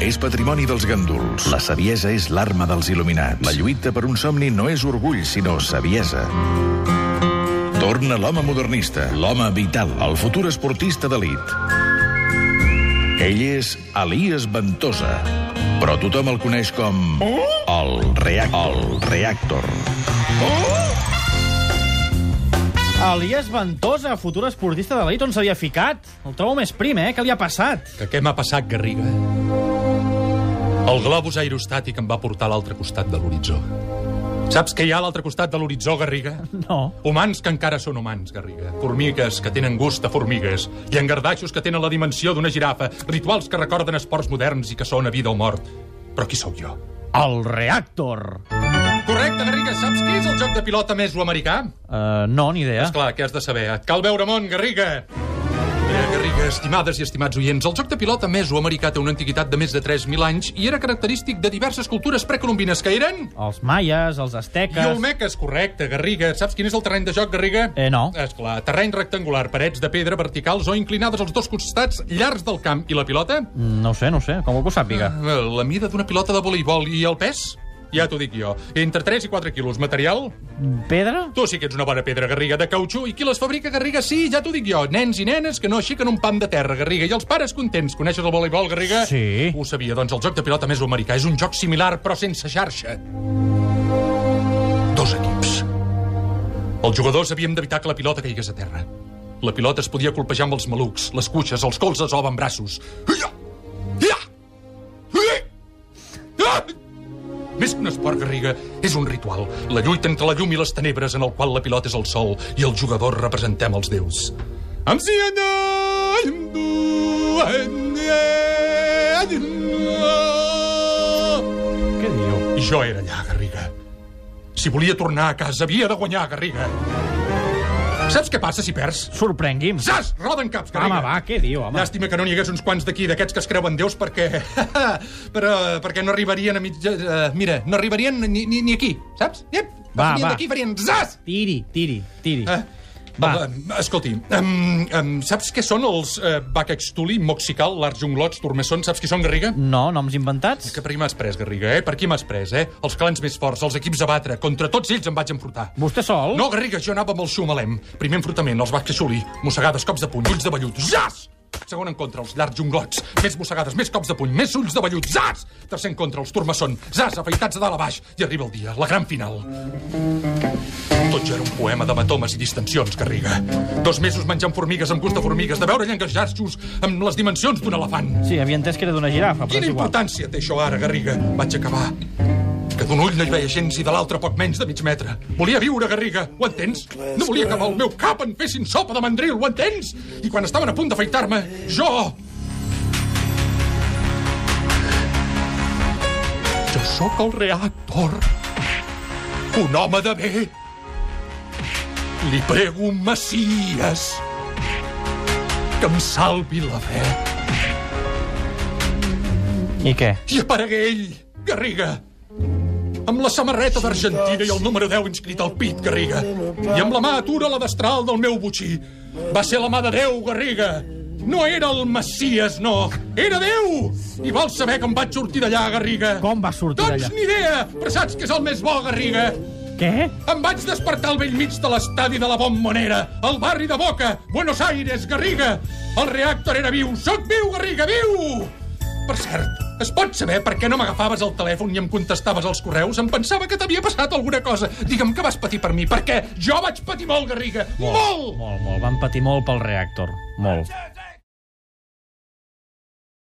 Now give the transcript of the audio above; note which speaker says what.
Speaker 1: és patrimoni dels ganduls. La saviesa és l'arma dels il·luminats. La lluita per un somni no és orgull, sinó saviesa. Torna l'home modernista, l'home vital, el futur esportista d'elit. Ell és Elias Ventosa, però tothom el coneix com... El Reactor. El Reactor.
Speaker 2: Elias Ventosa, futur esportista de l'elit, on s'havia ficat? El trobo més prim, eh? Què li ha passat?
Speaker 3: Que què m'ha passat, Garriga? El globus aerostàtic em va portar a l'altre costat de l'horitzó. Saps què hi ha a l'altre costat de l'horitzó, Garriga?
Speaker 2: No.
Speaker 3: Humans que encara són humans, Garriga. Formigues que tenen gust de formigues. I engardaixos que tenen la dimensió d'una girafa. Rituals que recorden esports moderns i que són a vida o mort. Però qui sóc jo?
Speaker 2: El Reactor.
Speaker 3: Correcte, Garriga, saps què és el joc de pilota més americà?
Speaker 2: Uh, no, ni idea.
Speaker 3: És clar, què has de saber? Et cal veure món, Garriga! Bé, Garriga, estimades i estimats oients, el joc de pilota mesoamericà té una antiguitat de més de 3.000 anys i era característic de diverses cultures precolombines que eren...
Speaker 2: Els maies, els asteques...
Speaker 3: I Olmeques, correcte, Garriga. Saps quin és el terreny de joc, Garriga?
Speaker 2: Eh, no.
Speaker 3: És clar, terreny rectangular, parets de pedra verticals o inclinades als dos costats llargs del camp. I la pilota?
Speaker 2: No ho sé, no ho sé. Com vol que ho sàpiga?
Speaker 3: Eh, La mida d'una pilota de voleibol. I el pes? Ja t'ho dic jo. Entre 3 i 4 quilos. Material?
Speaker 2: Pedra?
Speaker 3: Tu sí que ets una bona pedra, Garriga, de cautxú. I qui les fabrica, Garriga? Sí, ja t'ho dic jo. Nens i nenes que no aixequen un pam de terra, Garriga. I els pares contents. Coneixes el voleibol, Garriga?
Speaker 2: Sí.
Speaker 3: Ho sabia. Doncs el joc de pilota més americà és un joc similar, però sense xarxa. Dos equips. Els jugadors havíem d'evitar que la pilota caigués a terra. La pilota es podia colpejar amb els malucs, les cuixes, els colzes o amb braços. Ia! Ia! Ia! Ah! Més que un esport, Garriga, és un ritual. La lluita entre la llum i les tenebres en el qual la pilota és el sol i els jugadors representem els déus. Am si ana, em du, en, eh, en, eh.
Speaker 2: Què diu?
Speaker 3: I jo era allà, Garriga. Si volia tornar a casa, havia de guanyar, Garriga. Saps què passa si perds?
Speaker 2: Sorprengui'm.
Speaker 3: Zas! Roden caps, Garriga!
Speaker 2: Home, va, què diu, home?
Speaker 3: Llàstima que no n'hi hagués uns quants d'aquí, d'aquests que es creuen déus, perquè... però, perquè no arribarien a mitja... Uh, mira, no arribarien ni, ni, ni aquí, saps? Yep.
Speaker 2: Va,
Speaker 3: Venien
Speaker 2: va.
Speaker 3: d'aquí i farien zas!
Speaker 2: Tiri, tiri, tiri.
Speaker 3: Eh,
Speaker 2: Va.
Speaker 3: eh, escolti, um, um, saps què són els uh, Bacaxtuli, Moxical, Larjunglots, Tormessons? Saps qui són, Garriga?
Speaker 2: No, noms inventats?
Speaker 3: Que per qui m'has pres, Garriga, eh? Per qui m'has pres, eh? Els clans més forts, els equips a batre. Contra tots ells em vaig enfrontar.
Speaker 2: Vostè sol?
Speaker 3: No, Garriga, jo anava amb el xumalem. Primer enfrontament, els Baxaxuli. Mossegades, cops de puny, ulls de vellut. Zas! Segon en contra, els llargs junglots. Més mossegades, més cops de puny, més ulls de vellut. Zas! Tercer en contra, els turmasson. Zas, afaitats de dalt a baix. I arriba el dia, la gran final. Tot ja era un poema de matomes i distensions, Garriga. Dos mesos menjant formigues amb gust de formigues, de veure llengues jarxos amb les dimensions d'un elefant.
Speaker 2: Sí, havia entès que era d'una girafa, però
Speaker 3: Quina
Speaker 2: és igual.
Speaker 3: importància té això ara, Garriga? Vaig acabar. Que d'un ull no hi veia gens i de l'altre poc menys de mig metre. Volia viure, Garriga, ho entens? No volia que amb el meu cap en fessin sopa de mandril, ho entens? I quan estaven a punt d'afaitar-me, jo... Jo sóc el reactor. Un home de bé. Li prego un messies que em salvi la fe.
Speaker 2: I què?
Speaker 3: I aparegué ell, Garriga, amb la samarreta d'Argentina i el número 10 inscrit al pit, Garriga. I amb la mà atura la destral del meu butxí. Va ser la mà de Déu, Garriga. No era el Messias, no. Era Déu! I vols saber com vaig sortir d'allà, Garriga?
Speaker 2: Com va sortir
Speaker 3: doncs
Speaker 2: d'allà?
Speaker 3: ni idea, però saps que és el més bo, Garriga.
Speaker 2: Què?
Speaker 3: Em vaig despertar al vell mig de l'estadi de la Bombonera, al barri de Boca, Buenos Aires, Garriga. El reactor era viu. Soc viu, Garriga, viu! Per cert, es pot saber per què no m'agafaves el telèfon i em contestaves els correus? Em pensava que t'havia passat alguna cosa. Digue'm que vas patir per mi, perquè jo vaig patir molt, Garriga. Molt! molt.
Speaker 2: Molt, molt. Van patir molt pel reactor. Molt.